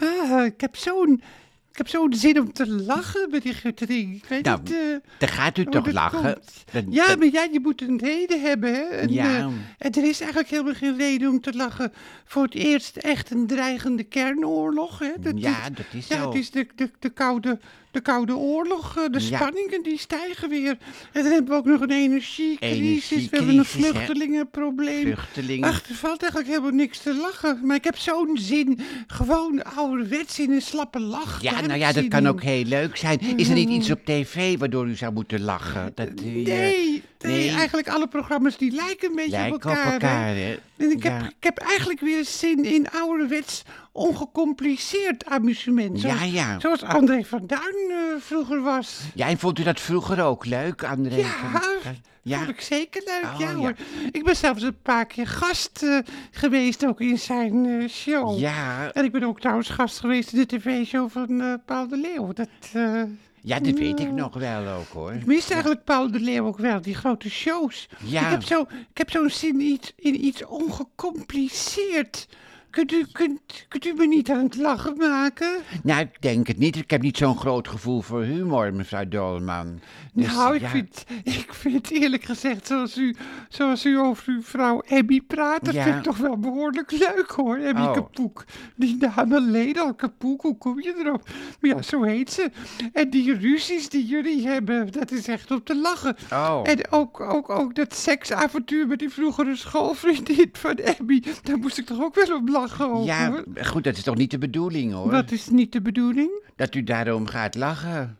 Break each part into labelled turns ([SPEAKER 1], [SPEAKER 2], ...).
[SPEAKER 1] Ah, heb zo'n... Ik heb zo'n zin om te lachen bij die guttering. Ik weet
[SPEAKER 2] Nou,
[SPEAKER 1] niet... eh,
[SPEAKER 2] Dan gaat u
[SPEAKER 1] hoe
[SPEAKER 2] toch
[SPEAKER 1] dat
[SPEAKER 2] lachen?
[SPEAKER 1] komt.
[SPEAKER 2] Dan-
[SPEAKER 1] Ja,
[SPEAKER 2] dan-
[SPEAKER 1] maar ja, je moet een reden hebben, hè. En,
[SPEAKER 2] Ja.
[SPEAKER 1] eh, en er is eigenlijk helemaal geen reden om te lachen. Voor het eerst echt een dreigende kernoorlog, hè. Dat,
[SPEAKER 2] Ja, dat is
[SPEAKER 1] Ja,
[SPEAKER 2] zo.
[SPEAKER 1] het is de, de, de, koude, de koude oorlog. eh, De
[SPEAKER 2] Ja.
[SPEAKER 1] spanningen die stijgen weer. En dan hebben we ook nog een energiecrisis. We hebben een
[SPEAKER 2] Energiecrisis, hè.
[SPEAKER 1] vluchtelingenprobleem.
[SPEAKER 2] Vluchtelingen.
[SPEAKER 1] Ach, er valt eigenlijk helemaal niks te lachen. Maar ik heb zo'n zin. Gewoon ouderwets in een slappe lach.
[SPEAKER 2] Ja,
[SPEAKER 1] Daar heb
[SPEAKER 2] nou
[SPEAKER 1] ik
[SPEAKER 2] ja, dat
[SPEAKER 1] zin
[SPEAKER 2] kan
[SPEAKER 1] in.
[SPEAKER 2] ook heel leuk zijn. Is er niet iets op tv waardoor u zou moeten lachen? Dat, u, eh,
[SPEAKER 1] Mm. Nee, nee,
[SPEAKER 2] nee.
[SPEAKER 1] eigenlijk alle programma's die lijken een beetje
[SPEAKER 2] Lijken
[SPEAKER 1] op elkaar. hè.
[SPEAKER 2] hè?
[SPEAKER 1] En ik,
[SPEAKER 2] Ja.
[SPEAKER 1] heb, ik heb eigenlijk weer eens zin in ouderwets ongecompliceerd amusement.
[SPEAKER 2] Ja,
[SPEAKER 1] Zoals,
[SPEAKER 2] ja.
[SPEAKER 1] zoals André van Duin eh, vroeger was.
[SPEAKER 2] Ja, en vond u dat vroeger ook leuk, André?
[SPEAKER 1] Ja,
[SPEAKER 2] Van-
[SPEAKER 1] vond ik zeker leuk.
[SPEAKER 2] Oh,
[SPEAKER 1] ja
[SPEAKER 2] ja.
[SPEAKER 1] hoor. Ik ben zelfs een paar keer gast eh, geweest ook in zijn eh, show.
[SPEAKER 2] ja,
[SPEAKER 1] En ik ben ook trouwens gast geweest in de tv-show van eh, Paul de Leeuw. Dat, eh,
[SPEAKER 2] ja, dat weet
[SPEAKER 1] Mm.
[SPEAKER 2] ik nog wel ook, hoor.
[SPEAKER 1] ik mis eigenlijk Paul de Leeuw ook wel, die grote shows.
[SPEAKER 2] Ja.
[SPEAKER 1] Ik heb zo'n zo zin in iets, in iets ongecompliceerd. Kunt u, kunt, kunt u me niet aan het lachen maken?
[SPEAKER 2] Nou, ik denk het niet. Ik heb niet zo'n groot gevoel voor humor, mevrouw Dolman. Dus,
[SPEAKER 1] nou, ik,
[SPEAKER 2] ja.
[SPEAKER 1] vind, ik vind eerlijk gezegd, zoals u, zoals u over uw vrouw Abby praat, dat
[SPEAKER 2] Ja.
[SPEAKER 1] vind ik toch wel behoorlijk leuk hoor, Abby
[SPEAKER 2] Oh.
[SPEAKER 1] Kapoek. Die naam alleen al, Kapoek, hoe kom je erop? Maar ja, zo heet ze. En die ruzies die jullie hebben, dat is echt om te lachen.
[SPEAKER 2] Oh.
[SPEAKER 1] En ook, ook, ook dat seksavontuur met die vroegere schoolvriendin van Abby, daar moest ik toch ook wel om lachen over?
[SPEAKER 2] Ja,
[SPEAKER 1] hoor.
[SPEAKER 2] goed, dat is toch niet de bedoeling, hoor?
[SPEAKER 1] Dat is niet de bedoeling.
[SPEAKER 2] Dat u daarom gaat lachen.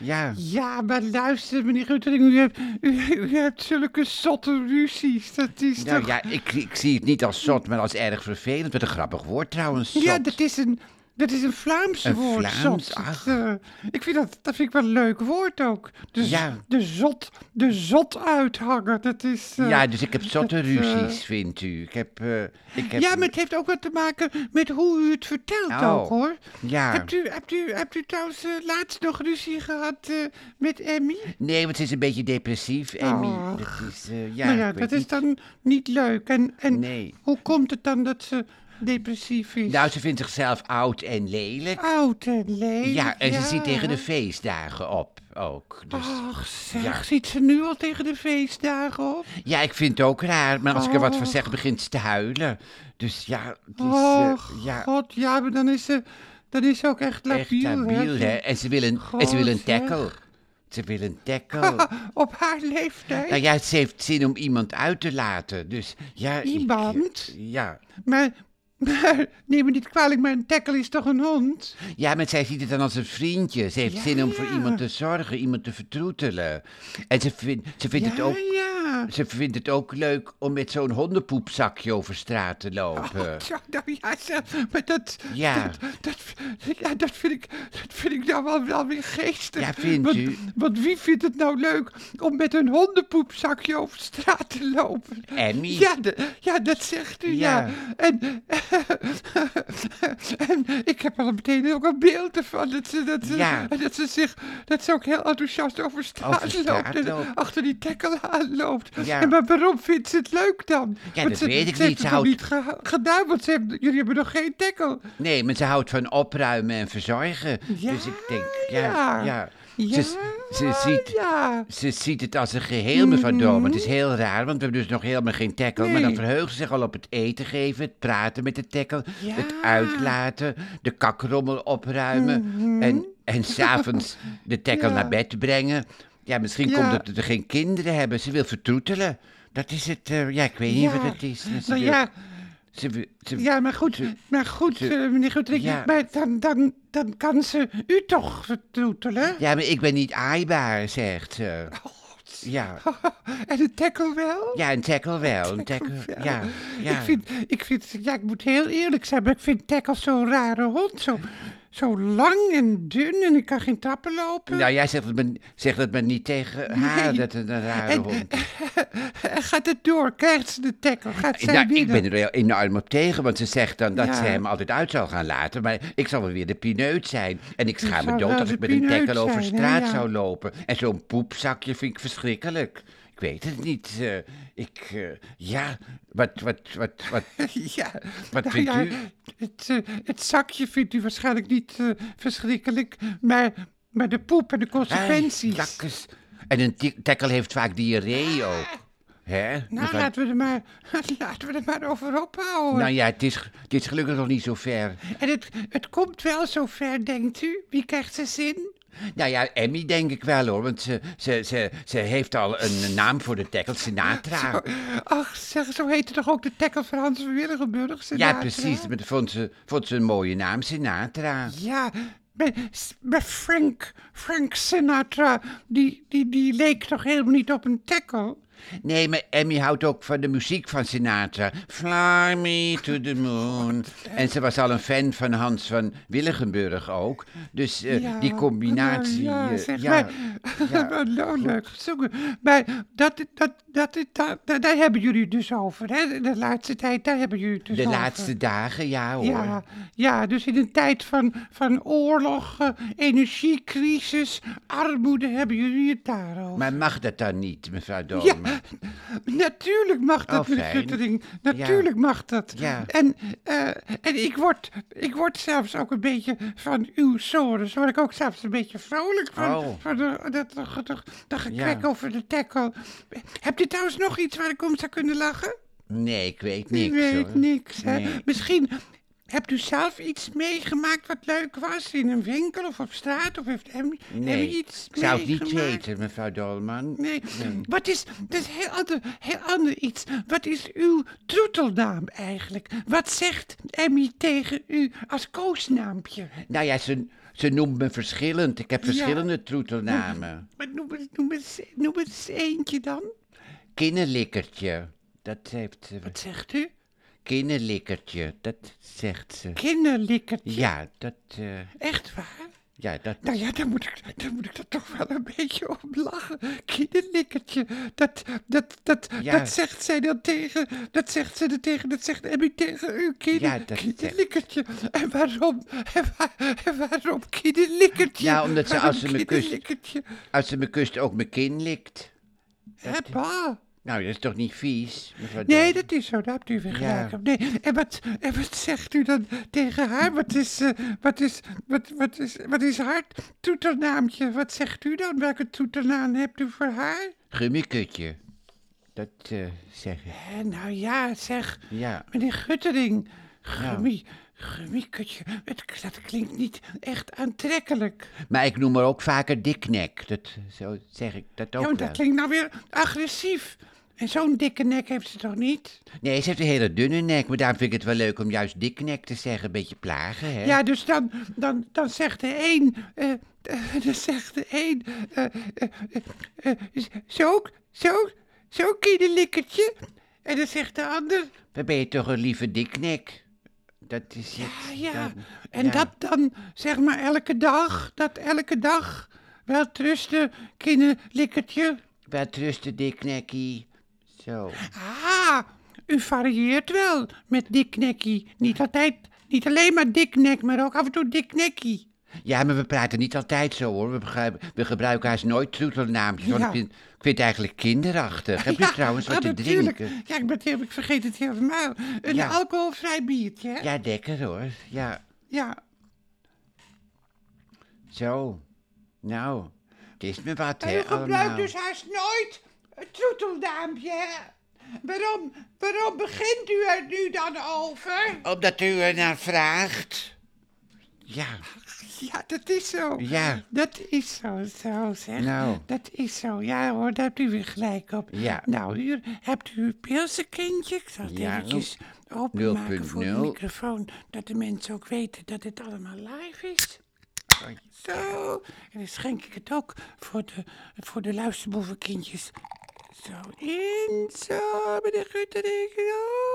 [SPEAKER 2] Ja.
[SPEAKER 1] Ja, maar luister, meneer Guttering, u hebt, u, u hebt zulke zotte ruzies. Dat is
[SPEAKER 2] Nou
[SPEAKER 1] toch...
[SPEAKER 2] ja, ik, ik zie het niet als zot, maar als erg vervelend. Wat een grappig woord trouwens, zot.
[SPEAKER 1] Ja, dat is een, dat is een Vlaams
[SPEAKER 2] Een
[SPEAKER 1] woord,
[SPEAKER 2] Vlaams,
[SPEAKER 1] zot.
[SPEAKER 2] ach.
[SPEAKER 1] Dat, eh, ik vind dat, dat vind ik wel een leuk woord ook. De, z-
[SPEAKER 2] Ja.
[SPEAKER 1] de zot, de zot uithangen, dat is... eh,
[SPEAKER 2] Ja, dus ik heb zotte
[SPEAKER 1] dat, eh,
[SPEAKER 2] ruzies, vindt u. Ik heb, eh, ik heb...
[SPEAKER 1] ja, maar het heeft ook wat te maken met hoe u het vertelt
[SPEAKER 2] Oh,
[SPEAKER 1] ook, hoor.
[SPEAKER 2] ja.
[SPEAKER 1] Hebt, u, hebt, u, hebt u trouwens eh, laatst nog ruzie gehad eh, met Emmy?
[SPEAKER 2] Nee, want ze is een beetje depressief, Emmy. Dat is, eh, ja,
[SPEAKER 1] Ah. Maar
[SPEAKER 2] ik
[SPEAKER 1] ja,
[SPEAKER 2] weet
[SPEAKER 1] dat is
[SPEAKER 2] niet.
[SPEAKER 1] dan niet leuk. En, en
[SPEAKER 2] Nee.
[SPEAKER 1] hoe komt het dan dat ze depressief is?
[SPEAKER 2] Nou, ze vindt zichzelf oud en lelijk.
[SPEAKER 1] Oud en lelijk.
[SPEAKER 2] ja, en
[SPEAKER 1] ja. Ah.
[SPEAKER 2] ze ziet tegen de feestdagen op ook. Dus,
[SPEAKER 1] Ach zeg,
[SPEAKER 2] Ja.
[SPEAKER 1] ziet ze nu al tegen de feestdagen op?
[SPEAKER 2] Ja, ik vind het ook raar, maar als ik er wat van
[SPEAKER 1] Och.
[SPEAKER 2] zeg, begint ze te huilen. Dus ja, het is... eh,
[SPEAKER 1] oh
[SPEAKER 2] ja,
[SPEAKER 1] god, ja, maar dan is ze, dan is ze ook echt labiel.
[SPEAKER 2] echt labiel, hè. En ze wil een, en ze wil een
[SPEAKER 1] God, zeg.
[SPEAKER 2] tackle. Ze wil een tackle.
[SPEAKER 1] Op haar leeftijd.
[SPEAKER 2] nou ja, ze heeft zin om iemand uit te laten, dus ja... ik-
[SPEAKER 1] Iemand?
[SPEAKER 2] ja.
[SPEAKER 1] Maar, maar neem me niet kwalijk, maar een tackle is toch een hond?
[SPEAKER 2] Ja, maar zij ziet het dan als een vriendje. Ze heeft
[SPEAKER 1] Ja,
[SPEAKER 2] zin om voor
[SPEAKER 1] ja.
[SPEAKER 2] iemand te zorgen, iemand te vertroetelen. En ze, vindt ze, vindt het,
[SPEAKER 1] ja,
[SPEAKER 2] ook,
[SPEAKER 1] ja.
[SPEAKER 2] ze vindt het ook leuk om met zo'n hondenpoepzakje over straat te lopen.
[SPEAKER 1] Ja, nou ja, zeg, maar dat,
[SPEAKER 2] Ja.
[SPEAKER 1] dat, dat, ja, dat vind ik, dat vind ik nou wel, wel weer geestig.
[SPEAKER 2] Ja, vindt
[SPEAKER 1] want,
[SPEAKER 2] u?
[SPEAKER 1] Want wie vindt het nou leuk om met een hondenpoepzakje over straat te lopen?
[SPEAKER 2] Emmy.
[SPEAKER 1] Ja, de- ja, dat zegt u, ja.
[SPEAKER 2] Ja.
[SPEAKER 1] En, en ik heb al meteen ook een beeld ervan. Dat ze, dat, ze,
[SPEAKER 2] Ja.
[SPEAKER 1] dat ze zich, dat ze ook heel enthousiast over straat,
[SPEAKER 2] Over straat
[SPEAKER 1] loopt. En
[SPEAKER 2] loopt.
[SPEAKER 1] achter die tackle aanloopt.
[SPEAKER 2] Ja.
[SPEAKER 1] En maar waarom vindt ze het leuk dan?
[SPEAKER 2] Ja,
[SPEAKER 1] Want
[SPEAKER 2] dat
[SPEAKER 1] ze-
[SPEAKER 2] weet ik
[SPEAKER 1] ze
[SPEAKER 2] niet.
[SPEAKER 1] heeft het
[SPEAKER 2] Ze
[SPEAKER 1] nog
[SPEAKER 2] houdt-
[SPEAKER 1] niet geha- gedaan, want ze hebben, jullie hebben nog geen tackle.
[SPEAKER 2] Nee, maar ze houdt van opruimen en verzorgen.
[SPEAKER 1] Ja,
[SPEAKER 2] dus ik denk, ja,
[SPEAKER 1] ja.
[SPEAKER 2] ja.
[SPEAKER 1] Ja,
[SPEAKER 2] Ze, ze, ziet,
[SPEAKER 1] ja.
[SPEAKER 2] ze ziet het als een geheel, mevrouw Doorn. Het is heel raar, want we hebben dus nog helemaal geen tackle. Maar
[SPEAKER 1] Mhm.
[SPEAKER 2] dan
[SPEAKER 1] Nee.
[SPEAKER 2] verheugt ze zich al op het eten geven, het praten met de tackle,
[SPEAKER 1] Ja.
[SPEAKER 2] het uitlaten, de kakrommel opruimen en, en s'avonds de tackle
[SPEAKER 1] Mhm. Ja.
[SPEAKER 2] naar bed brengen. Ja, misschien
[SPEAKER 1] Ja.
[SPEAKER 2] komt het dat we geen kinderen hebben. Ze wil vertroetelen. Dat is het, eh, ja, ik weet niet
[SPEAKER 1] Ja.
[SPEAKER 2] wat het is. Ze
[SPEAKER 1] Nou
[SPEAKER 2] wil-
[SPEAKER 1] ja,
[SPEAKER 2] ze wil- ze-
[SPEAKER 1] ja, maar goed, maar goed
[SPEAKER 2] ze-
[SPEAKER 1] eh, meneer Goedrik,
[SPEAKER 2] Ja.
[SPEAKER 1] maar dan, dan, dan kan ze u toch vertroetelen?
[SPEAKER 2] ja, maar ik ben niet aaibaar, zegt ze. Ja.
[SPEAKER 1] en de tackle wel?
[SPEAKER 2] Ja, een tackle wel. Een tackle,
[SPEAKER 1] wel.
[SPEAKER 2] ja, ja.
[SPEAKER 1] Ik vind, ik vind, ja, ik moet heel eerlijk zijn, maar ik vind tackles zo'n rare hond. Zo, zo lang en dun en ik kan geen trappen lopen.
[SPEAKER 2] Nou, jij zegt het me, zegt het me niet tegen haar, dat het een rare
[SPEAKER 1] En-
[SPEAKER 2] hond is.
[SPEAKER 1] Gaat het door? Krijgt ze de tackle? Gaat zij
[SPEAKER 2] Nou, ik
[SPEAKER 1] winnen?
[SPEAKER 2] ben er heel enorm op tegen, want ze zegt dan dat
[SPEAKER 1] Ja.
[SPEAKER 2] ze hem altijd uit zal gaan laten. Maar ik zal wel weer de pineut zijn. En ik schaam me
[SPEAKER 1] zou
[SPEAKER 2] dood
[SPEAKER 1] wel
[SPEAKER 2] als
[SPEAKER 1] de
[SPEAKER 2] ik met een
[SPEAKER 1] pineut
[SPEAKER 2] tackle over
[SPEAKER 1] zijn, hè,
[SPEAKER 2] straat
[SPEAKER 1] ja.
[SPEAKER 2] zou lopen. En zo'n poepzakje vind ik verschrikkelijk. Ik ik weet het niet. eh, ik, eh, ja, wat, wat, wat, wat,
[SPEAKER 1] Ja,
[SPEAKER 2] wat
[SPEAKER 1] nou
[SPEAKER 2] vindt
[SPEAKER 1] ja,
[SPEAKER 2] u?
[SPEAKER 1] het, eh, het zakje vindt u waarschijnlijk niet eh, verschrikkelijk, maar, maar de poep en de consequenties.
[SPEAKER 2] Ah, jakkes. En een ti- tackle heeft vaak diarree ook. Hè?
[SPEAKER 1] nou,
[SPEAKER 2] mevrouw-
[SPEAKER 1] laten we, er maar, laten we er maar over ophouden.
[SPEAKER 2] nou ja, het is, het is gelukkig nog niet zo ver.
[SPEAKER 1] En het, het komt wel zover, denkt u? Wie krijgt zijn zin?
[SPEAKER 2] Nou ja, Emmy denk ik wel hoor, want ze, ze, ze, ze heeft al een naam voor de tackle, Sinatra.
[SPEAKER 1] Ach, zeg, zo heette toch ook de tackle van Hans van Willigenburg?
[SPEAKER 2] ja,
[SPEAKER 1] Sinatra?
[SPEAKER 2] precies. Maar dat vond ze, vond ze een mooie naam, Sinatra.
[SPEAKER 1] Ja, maar, maar Frank, Frank Sinatra, die, die, die leek toch helemaal niet op een tackle?
[SPEAKER 2] Nee, maar Emmy houdt ook van de muziek van Sinatra. Fly me to the moon. En ze was al een fan van Hans van Willigenburg ook. Dus eh,
[SPEAKER 1] Ja,
[SPEAKER 2] die combinatie...
[SPEAKER 1] nou ja,
[SPEAKER 2] eh,
[SPEAKER 1] zeg
[SPEAKER 2] ja,
[SPEAKER 1] maar.
[SPEAKER 2] ja.
[SPEAKER 1] Wat nou leuk gezongen. Maar dat, dat, dat, dat, daar- daar hebben jullie het dus over, hè? De laatste tijd, daar hebben jullie het dus
[SPEAKER 2] De
[SPEAKER 1] over.
[SPEAKER 2] laatste dagen, ja hoor.
[SPEAKER 1] Ja, ja, dus in een tijd van, van oorlog, eh, energiecrisis, armoede hebben jullie het daarover.
[SPEAKER 2] Maar mag dat dan niet, mevrouw
[SPEAKER 1] Ja,
[SPEAKER 2] Dolman?
[SPEAKER 1] natuurlijk mag dat,
[SPEAKER 2] Oh,
[SPEAKER 1] meneer
[SPEAKER 2] fijn.
[SPEAKER 1] Guttering. Natuurlijk mag dat.
[SPEAKER 2] Ja.
[SPEAKER 1] En, eh, en ik, word, ik word zelfs ook een beetje van uw sores. Word ik ook zelfs een beetje vrolijk van,
[SPEAKER 2] Oh.
[SPEAKER 1] van de, dat, dat, dat, dat gekrek over de tackle. Hebt u trouwens nog iets waar ik om zou kunnen lachen?
[SPEAKER 2] Nee, ik weet niks
[SPEAKER 1] ik weet
[SPEAKER 2] hoor.
[SPEAKER 1] niks. Hè?
[SPEAKER 2] Nee.
[SPEAKER 1] Misschien hebt u zelf iets meegemaakt wat leuk was in een winkel of op straat? Of heeft Emmy Emmy
[SPEAKER 2] Nee,
[SPEAKER 1] iets
[SPEAKER 2] ik zou het niet
[SPEAKER 1] meegemaakt?
[SPEAKER 2] weten, mevrouw Dolman.
[SPEAKER 1] Nee. Wat is, dat is een heel ander, heel ander iets. Wat is uw troetelnaam eigenlijk? Wat zegt Emmy tegen u als koosnaampje?
[SPEAKER 2] Nou ja, ze, ze noemt me verschillend. Ik heb verschillende troetelnamen.
[SPEAKER 1] Maar noem, eens- noem, eens, noem eens eentje dan.
[SPEAKER 2] Kinnelikkertje. Dat heeft ze.
[SPEAKER 1] Wat zegt u?
[SPEAKER 2] Kinnelikkertje, dat zegt ze.
[SPEAKER 1] Kinderlikkertje.
[SPEAKER 2] Ja, dat. eh,
[SPEAKER 1] Echt waar?
[SPEAKER 2] ja, dat.
[SPEAKER 1] Nou ja, daar moet, ik, daar moet ik er toch wel een beetje om lachen. Kinderlikkertje. Dat, dat, dat,
[SPEAKER 2] Ja.
[SPEAKER 1] dat zegt zij dan tegen. Dat zegt ze er tegen. Dat zegt Emmy tegen u. Kinder,
[SPEAKER 2] Ja, dat-
[SPEAKER 1] kinderlikkertje. En waarom? En, waar- en waarom kinderlikkertje?
[SPEAKER 2] Ja, omdat ze
[SPEAKER 1] Waarom
[SPEAKER 2] als ze me kust-
[SPEAKER 1] kinderlikkertje?
[SPEAKER 2] Als ze me kust, ook mijn kin likt.
[SPEAKER 1] Hè, pa?
[SPEAKER 2] Nou, dat is toch niet vies? mevrouw
[SPEAKER 1] Nee,
[SPEAKER 2] Dolman?
[SPEAKER 1] dat is zo. Daar hebt u weer
[SPEAKER 2] Ja.
[SPEAKER 1] gelijk op. Nee. En, wat, en wat zegt u dan tegen haar? Wat is, eh, wat is, wat, wat is, wat is haar toeternaamtje? Wat zegt u dan? Welke toeternaam hebt u voor haar?
[SPEAKER 2] Gummikutje. Dat eh zeg ik.
[SPEAKER 1] Eh, nou ja, zeg,
[SPEAKER 2] Ja.
[SPEAKER 1] meneer Guttering. Gummi, gummiekutje. Het, dat klinkt niet echt aantrekkelijk.
[SPEAKER 2] Maar ik noem haar ook vaker diknek. Dat, zo zeg ik dat ook
[SPEAKER 1] Ja, want
[SPEAKER 2] wel.
[SPEAKER 1] dat klinkt nou weer agressief. En zo'n dikke nek heeft ze toch niet?
[SPEAKER 2] Nee, ze heeft een hele dunne nek. Maar daarom vind ik het wel leuk om juist diknek te zeggen. Een beetje plagen, hè?
[SPEAKER 1] Ja, dus dan, dan, dan zegt de een, eh, eh, dan zegt de een, eh, eh, eh, eh, zo, zo, zo kinderlikkertje. En dan zegt de ander,
[SPEAKER 2] Dan ben je toch een lieve diknek. Dat is het.
[SPEAKER 1] ah ja.
[SPEAKER 2] Dan-
[SPEAKER 1] En
[SPEAKER 2] ja.
[SPEAKER 1] dat dan, zeg maar, elke dag, dat elke dag, wel trusten, kinderlikkertje.
[SPEAKER 2] Wel trusten, diknekkie. Zo.
[SPEAKER 1] Ah, u varieert wel met diknekkie. Niet altijd, niet alleen maar diknek, maar ook af en toe diknekkie.
[SPEAKER 2] Ja, maar we praten niet altijd zo hoor. We, begrijpen- we gebruiken haast nooit troetelnaampjes. Want
[SPEAKER 1] Ja.
[SPEAKER 2] ik, vind, ik vind het eigenlijk kinderachtig. Heb je trouwens wat
[SPEAKER 1] ah,
[SPEAKER 2] te
[SPEAKER 1] natuurlijk.
[SPEAKER 2] drinken?
[SPEAKER 1] Ja, ik, ben, heel- ik vergeet het helemaal. Een
[SPEAKER 2] Ja.
[SPEAKER 1] alcoholvrij biertje, hè? Ja.
[SPEAKER 2] Ja, lekker hoor. Ja, zo. Nou, het is me wat
[SPEAKER 1] En
[SPEAKER 2] hè,
[SPEAKER 1] u gebruikt
[SPEAKER 2] allemaal.
[SPEAKER 1] dus haast nooit een troeteldaampje, hè? Waarom, waarom begint u er nu dan over?
[SPEAKER 2] Omdat u er naar vraagt. Ja,
[SPEAKER 1] Ja, dat is zo.
[SPEAKER 2] ja.
[SPEAKER 1] Dat is zo, zo zeg.
[SPEAKER 2] Nou.
[SPEAKER 1] Dat is zo. Ja hoor, daar hebt u weer gelijk op.
[SPEAKER 2] Ja.
[SPEAKER 1] Nou, hier hebt u uw pilsenkindje. Ik zal het
[SPEAKER 2] Ja,
[SPEAKER 1] eventjes openmaken voor de
[SPEAKER 2] 0.0.
[SPEAKER 1] microfoon. Dat de mensen ook weten dat dit allemaal live is. Zo. En dan schenk ik het ook voor de, voor de luisterboevenkindjes. Zo in, zo, meneer Guttering.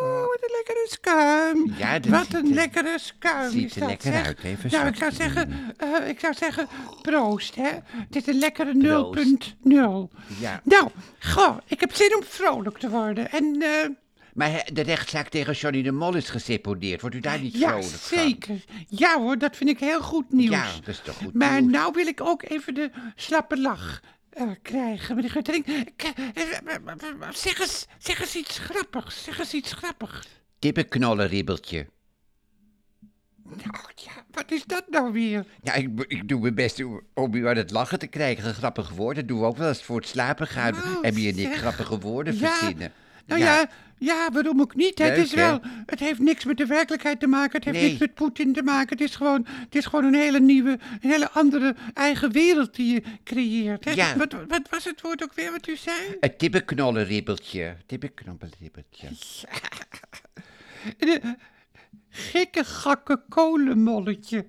[SPEAKER 1] Oh, wat een lekkere schuim.
[SPEAKER 2] Ja, dat
[SPEAKER 1] wat
[SPEAKER 2] ziet
[SPEAKER 1] een
[SPEAKER 2] er-
[SPEAKER 1] lekkere schuim.
[SPEAKER 2] ziet
[SPEAKER 1] is
[SPEAKER 2] er
[SPEAKER 1] dat,
[SPEAKER 2] lekker
[SPEAKER 1] zeg.
[SPEAKER 2] uit, hè,
[SPEAKER 1] Nou, ik
[SPEAKER 2] verzorgd.
[SPEAKER 1] zou zeggen, eh, ik zou zeggen, proost, hè. Het is een lekkere
[SPEAKER 2] Proost.
[SPEAKER 1] 0.0.
[SPEAKER 2] Ja.
[SPEAKER 1] Nou, goh, ik heb zin om vrolijk te worden. En eh,
[SPEAKER 2] Maar hè, de rechtszaak tegen Johnny de Mol is geseponeerd. Wordt u daar niet
[SPEAKER 1] ja,
[SPEAKER 2] vrolijk van?
[SPEAKER 1] zeker. Ja hoor, dat vind ik heel goed nieuws.
[SPEAKER 2] Ja, dat is toch goed
[SPEAKER 1] Maar
[SPEAKER 2] nieuws.
[SPEAKER 1] nou wil ik ook even de slappe lach eh, krijgen, meneer Guttering. Ik, eh, eh, Zeg eens, zeg eens iets grappigs, zeg eens iets grappigs.
[SPEAKER 2] Kippenknollenribbeltje.
[SPEAKER 1] Nou ja, wat is dat nou weer?
[SPEAKER 2] Ja, ik, ik doe mijn best om- om u aan het lachen te krijgen. Een grappige woorden doen we ook wel eens voor het slapen gaan.
[SPEAKER 1] Oh,
[SPEAKER 2] Hebben je niet
[SPEAKER 1] zeg.
[SPEAKER 2] grappige woorden
[SPEAKER 1] Ja,
[SPEAKER 2] verzinnen?
[SPEAKER 1] Nou ja, ja, waarom ook niet? hè?
[SPEAKER 2] Leuk,
[SPEAKER 1] het, is
[SPEAKER 2] hè?
[SPEAKER 1] wel, het heeft niks met de werkelijkheid te maken. Het heeft
[SPEAKER 2] Nee.
[SPEAKER 1] niks met Poetin te maken. Het is gewoon, het is gewoon een hele nieuwe, een hele andere eigen wereld die je creëert. Hè?
[SPEAKER 2] Ja.
[SPEAKER 1] Wat, wat was het woord ook weer wat u zei?
[SPEAKER 2] Een tippenknollenribbeltje. Tippenknollenribbeltje.
[SPEAKER 1] Gekke gakke kolenmolletje.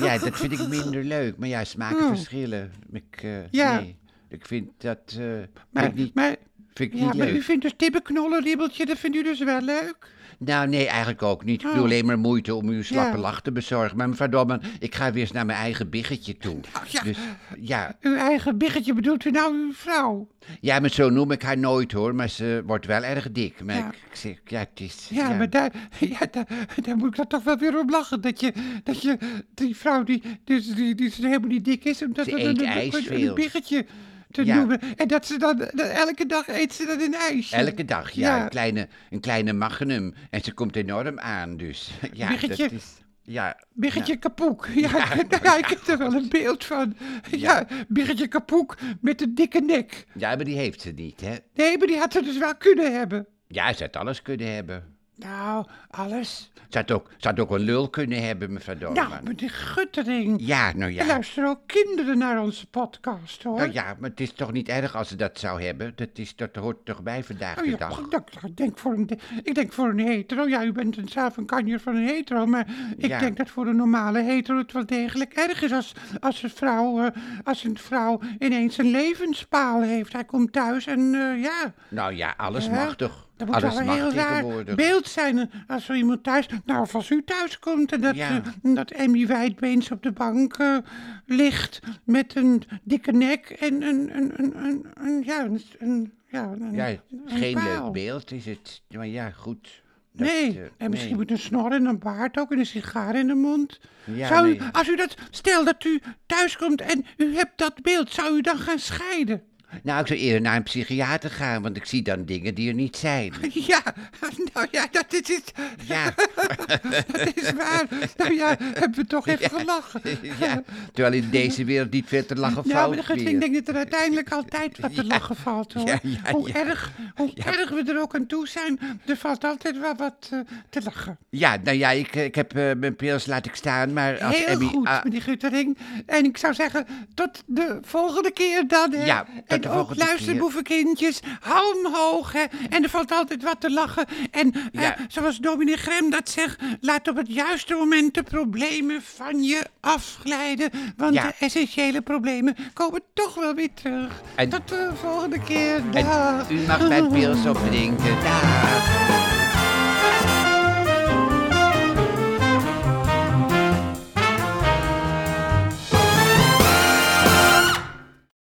[SPEAKER 2] Ja, dat vind ik minder leuk. Maar ja, smaken verschillen. Ik, eh,
[SPEAKER 1] Oh. Ja.
[SPEAKER 2] nee. ik vind dat eh, vind ik
[SPEAKER 1] Maar,
[SPEAKER 2] niet,
[SPEAKER 1] maar,
[SPEAKER 2] vind ik
[SPEAKER 1] ja,
[SPEAKER 2] niet
[SPEAKER 1] maar
[SPEAKER 2] leuk.
[SPEAKER 1] u vindt dus tibbenknollenribbeltje, dat vindt u dus wel leuk?
[SPEAKER 2] Nou, nee, eigenlijk ook niet. Ik doe
[SPEAKER 1] Oh.
[SPEAKER 2] alleen maar moeite om uw slappe
[SPEAKER 1] Ja.
[SPEAKER 2] lach te bezorgen. Maar mevrouw Dolman, ik ga weer eens naar mijn eigen biggetje toe.
[SPEAKER 1] ja.
[SPEAKER 2] Dus ja.
[SPEAKER 1] Uw eigen biggetje bedoelt u nou uw vrouw?
[SPEAKER 2] ja, maar zo noem ik haar nooit hoor. Maar ze wordt wel erg dik. Maar
[SPEAKER 1] Ja.
[SPEAKER 2] ik, ik zeg, ja, het is...
[SPEAKER 1] Ja, maar daar, ja, daar, daar moet ik dan toch wel weer om lachen. Dat je, dat je die vrouw die, die, die, die ze helemaal niet dik is, omdat
[SPEAKER 2] Ze
[SPEAKER 1] dat
[SPEAKER 2] eet
[SPEAKER 1] een,
[SPEAKER 2] ijs
[SPEAKER 1] een,
[SPEAKER 2] veel.
[SPEAKER 1] een biggetje te
[SPEAKER 2] Ja.
[SPEAKER 1] noemen. En dat ze dan, dat elke dag eet ze dan een ijsje.
[SPEAKER 2] Elke dag, ja.
[SPEAKER 1] Ja.
[SPEAKER 2] Een, kleine, een kleine magnum. En ze komt enorm aan, dus... Ja,
[SPEAKER 1] Biggetje.
[SPEAKER 2] dat is... Ja,
[SPEAKER 1] Biggetje kapoek. Ja, nou ja, ik heb er wel een beeld van. Ja, biggetje kapoek met een dikke nek.
[SPEAKER 2] ja, maar die heeft ze niet, hè.
[SPEAKER 1] Nee, maar die had ze dus wel kunnen hebben.
[SPEAKER 2] Ja, ze had alles kunnen hebben.
[SPEAKER 1] Nou, alles.
[SPEAKER 2] Ze had ook, ze had ook een lul kunnen hebben, mevrouw Dolman.
[SPEAKER 1] Nou, met die guttering.
[SPEAKER 2] Ja, nou Oh, ja.
[SPEAKER 1] Er luisteren ook kinderen naar onze podcast, hoor.
[SPEAKER 2] Nou ja, maar het is toch niet erg als ze dat zou hebben? Dat, is, dat hoort toch bij vandaag
[SPEAKER 1] Oh
[SPEAKER 2] de
[SPEAKER 1] ja,
[SPEAKER 2] dag?
[SPEAKER 1] ik denk- ik denk voor een, ik denk voor een hetero. Ja, u bent een, zelf een kanjer van een hetero. Maar ik
[SPEAKER 2] Ja.
[SPEAKER 1] denk dat voor een normale hetero het wel degelijk erg is als, als, een vrouw, eh, als een vrouw ineens een levenspaal heeft. Hij komt thuis en eh, ja.
[SPEAKER 2] Nou ja, alles
[SPEAKER 1] hè?
[SPEAKER 2] mag toch?
[SPEAKER 1] Dat moet
[SPEAKER 2] Alles
[SPEAKER 1] wel een
[SPEAKER 2] mag
[SPEAKER 1] heel raar
[SPEAKER 2] tegenwoordig.
[SPEAKER 1] beeld zijn eh, als zo iemand thuis... Nou, of als u thuis komt en dat,
[SPEAKER 2] Ja.
[SPEAKER 1] eh, dat Emmy Wijdbeens op de bank eh, ligt... met een dikke nek en een... een, een, een, een- ja, een, een- ja, een-
[SPEAKER 2] ja,
[SPEAKER 1] een
[SPEAKER 2] geen
[SPEAKER 1] paal.
[SPEAKER 2] leuk beeld is het. Maar ja, goed. Dat,
[SPEAKER 1] Nee,
[SPEAKER 2] eh,
[SPEAKER 1] en misschien
[SPEAKER 2] nee.
[SPEAKER 1] met een snor en een baard ook en een sigaar in de mond.
[SPEAKER 2] Ja,
[SPEAKER 1] zou u,
[SPEAKER 2] nee.
[SPEAKER 1] als u dat, stel dat u thuiskomt en u hebt dat beeld, zou u dan gaan scheiden?
[SPEAKER 2] Nou, ik zou eerder naar een psychiater gaan, want ik zie dan dingen die er niet zijn.
[SPEAKER 1] Ja, nou ja, dat is, is-
[SPEAKER 2] Ja,
[SPEAKER 1] dat is waar. Nou ja, hebben we toch even gelachen.
[SPEAKER 2] ja. Terwijl in deze wereld niet veel te lachen
[SPEAKER 1] Nou,
[SPEAKER 2] valt
[SPEAKER 1] maar de
[SPEAKER 2] meer.
[SPEAKER 1] Guttering denkt dat er uiteindelijk altijd wat te lachen valt, hoor.
[SPEAKER 2] Ja, ja,
[SPEAKER 1] hoe
[SPEAKER 2] ja.
[SPEAKER 1] erg, hoe erg we er ook aan toe zijn, er valt altijd wel wat eh, te lachen.
[SPEAKER 2] Ja, nou ja, ik, ik heb eh, mijn pils laat ik staan, maar als
[SPEAKER 1] Heel
[SPEAKER 2] Emmy...
[SPEAKER 1] goed,
[SPEAKER 2] ah,
[SPEAKER 1] meneer Guttering. En ik zou zeggen, tot de volgende keer dan. Hè.
[SPEAKER 2] Ja, tot
[SPEAKER 1] en
[SPEAKER 2] de
[SPEAKER 1] ook
[SPEAKER 2] volgende
[SPEAKER 1] luister,
[SPEAKER 2] keer.
[SPEAKER 1] boevenkindjes. Hou hem hoog. Hè. En er valt altijd wat te lachen. En eh,
[SPEAKER 2] Ja.
[SPEAKER 1] zoals dominee Grem dat zegt, laat op het juiste moment de problemen van je afglijden. Want
[SPEAKER 2] Ja.
[SPEAKER 1] de essentiële problemen komen toch wel weer terug.
[SPEAKER 2] En-
[SPEAKER 1] tot de volgende keer.
[SPEAKER 2] en
[SPEAKER 1] Dag.
[SPEAKER 2] u mag mijn pils opdrinken. Daag.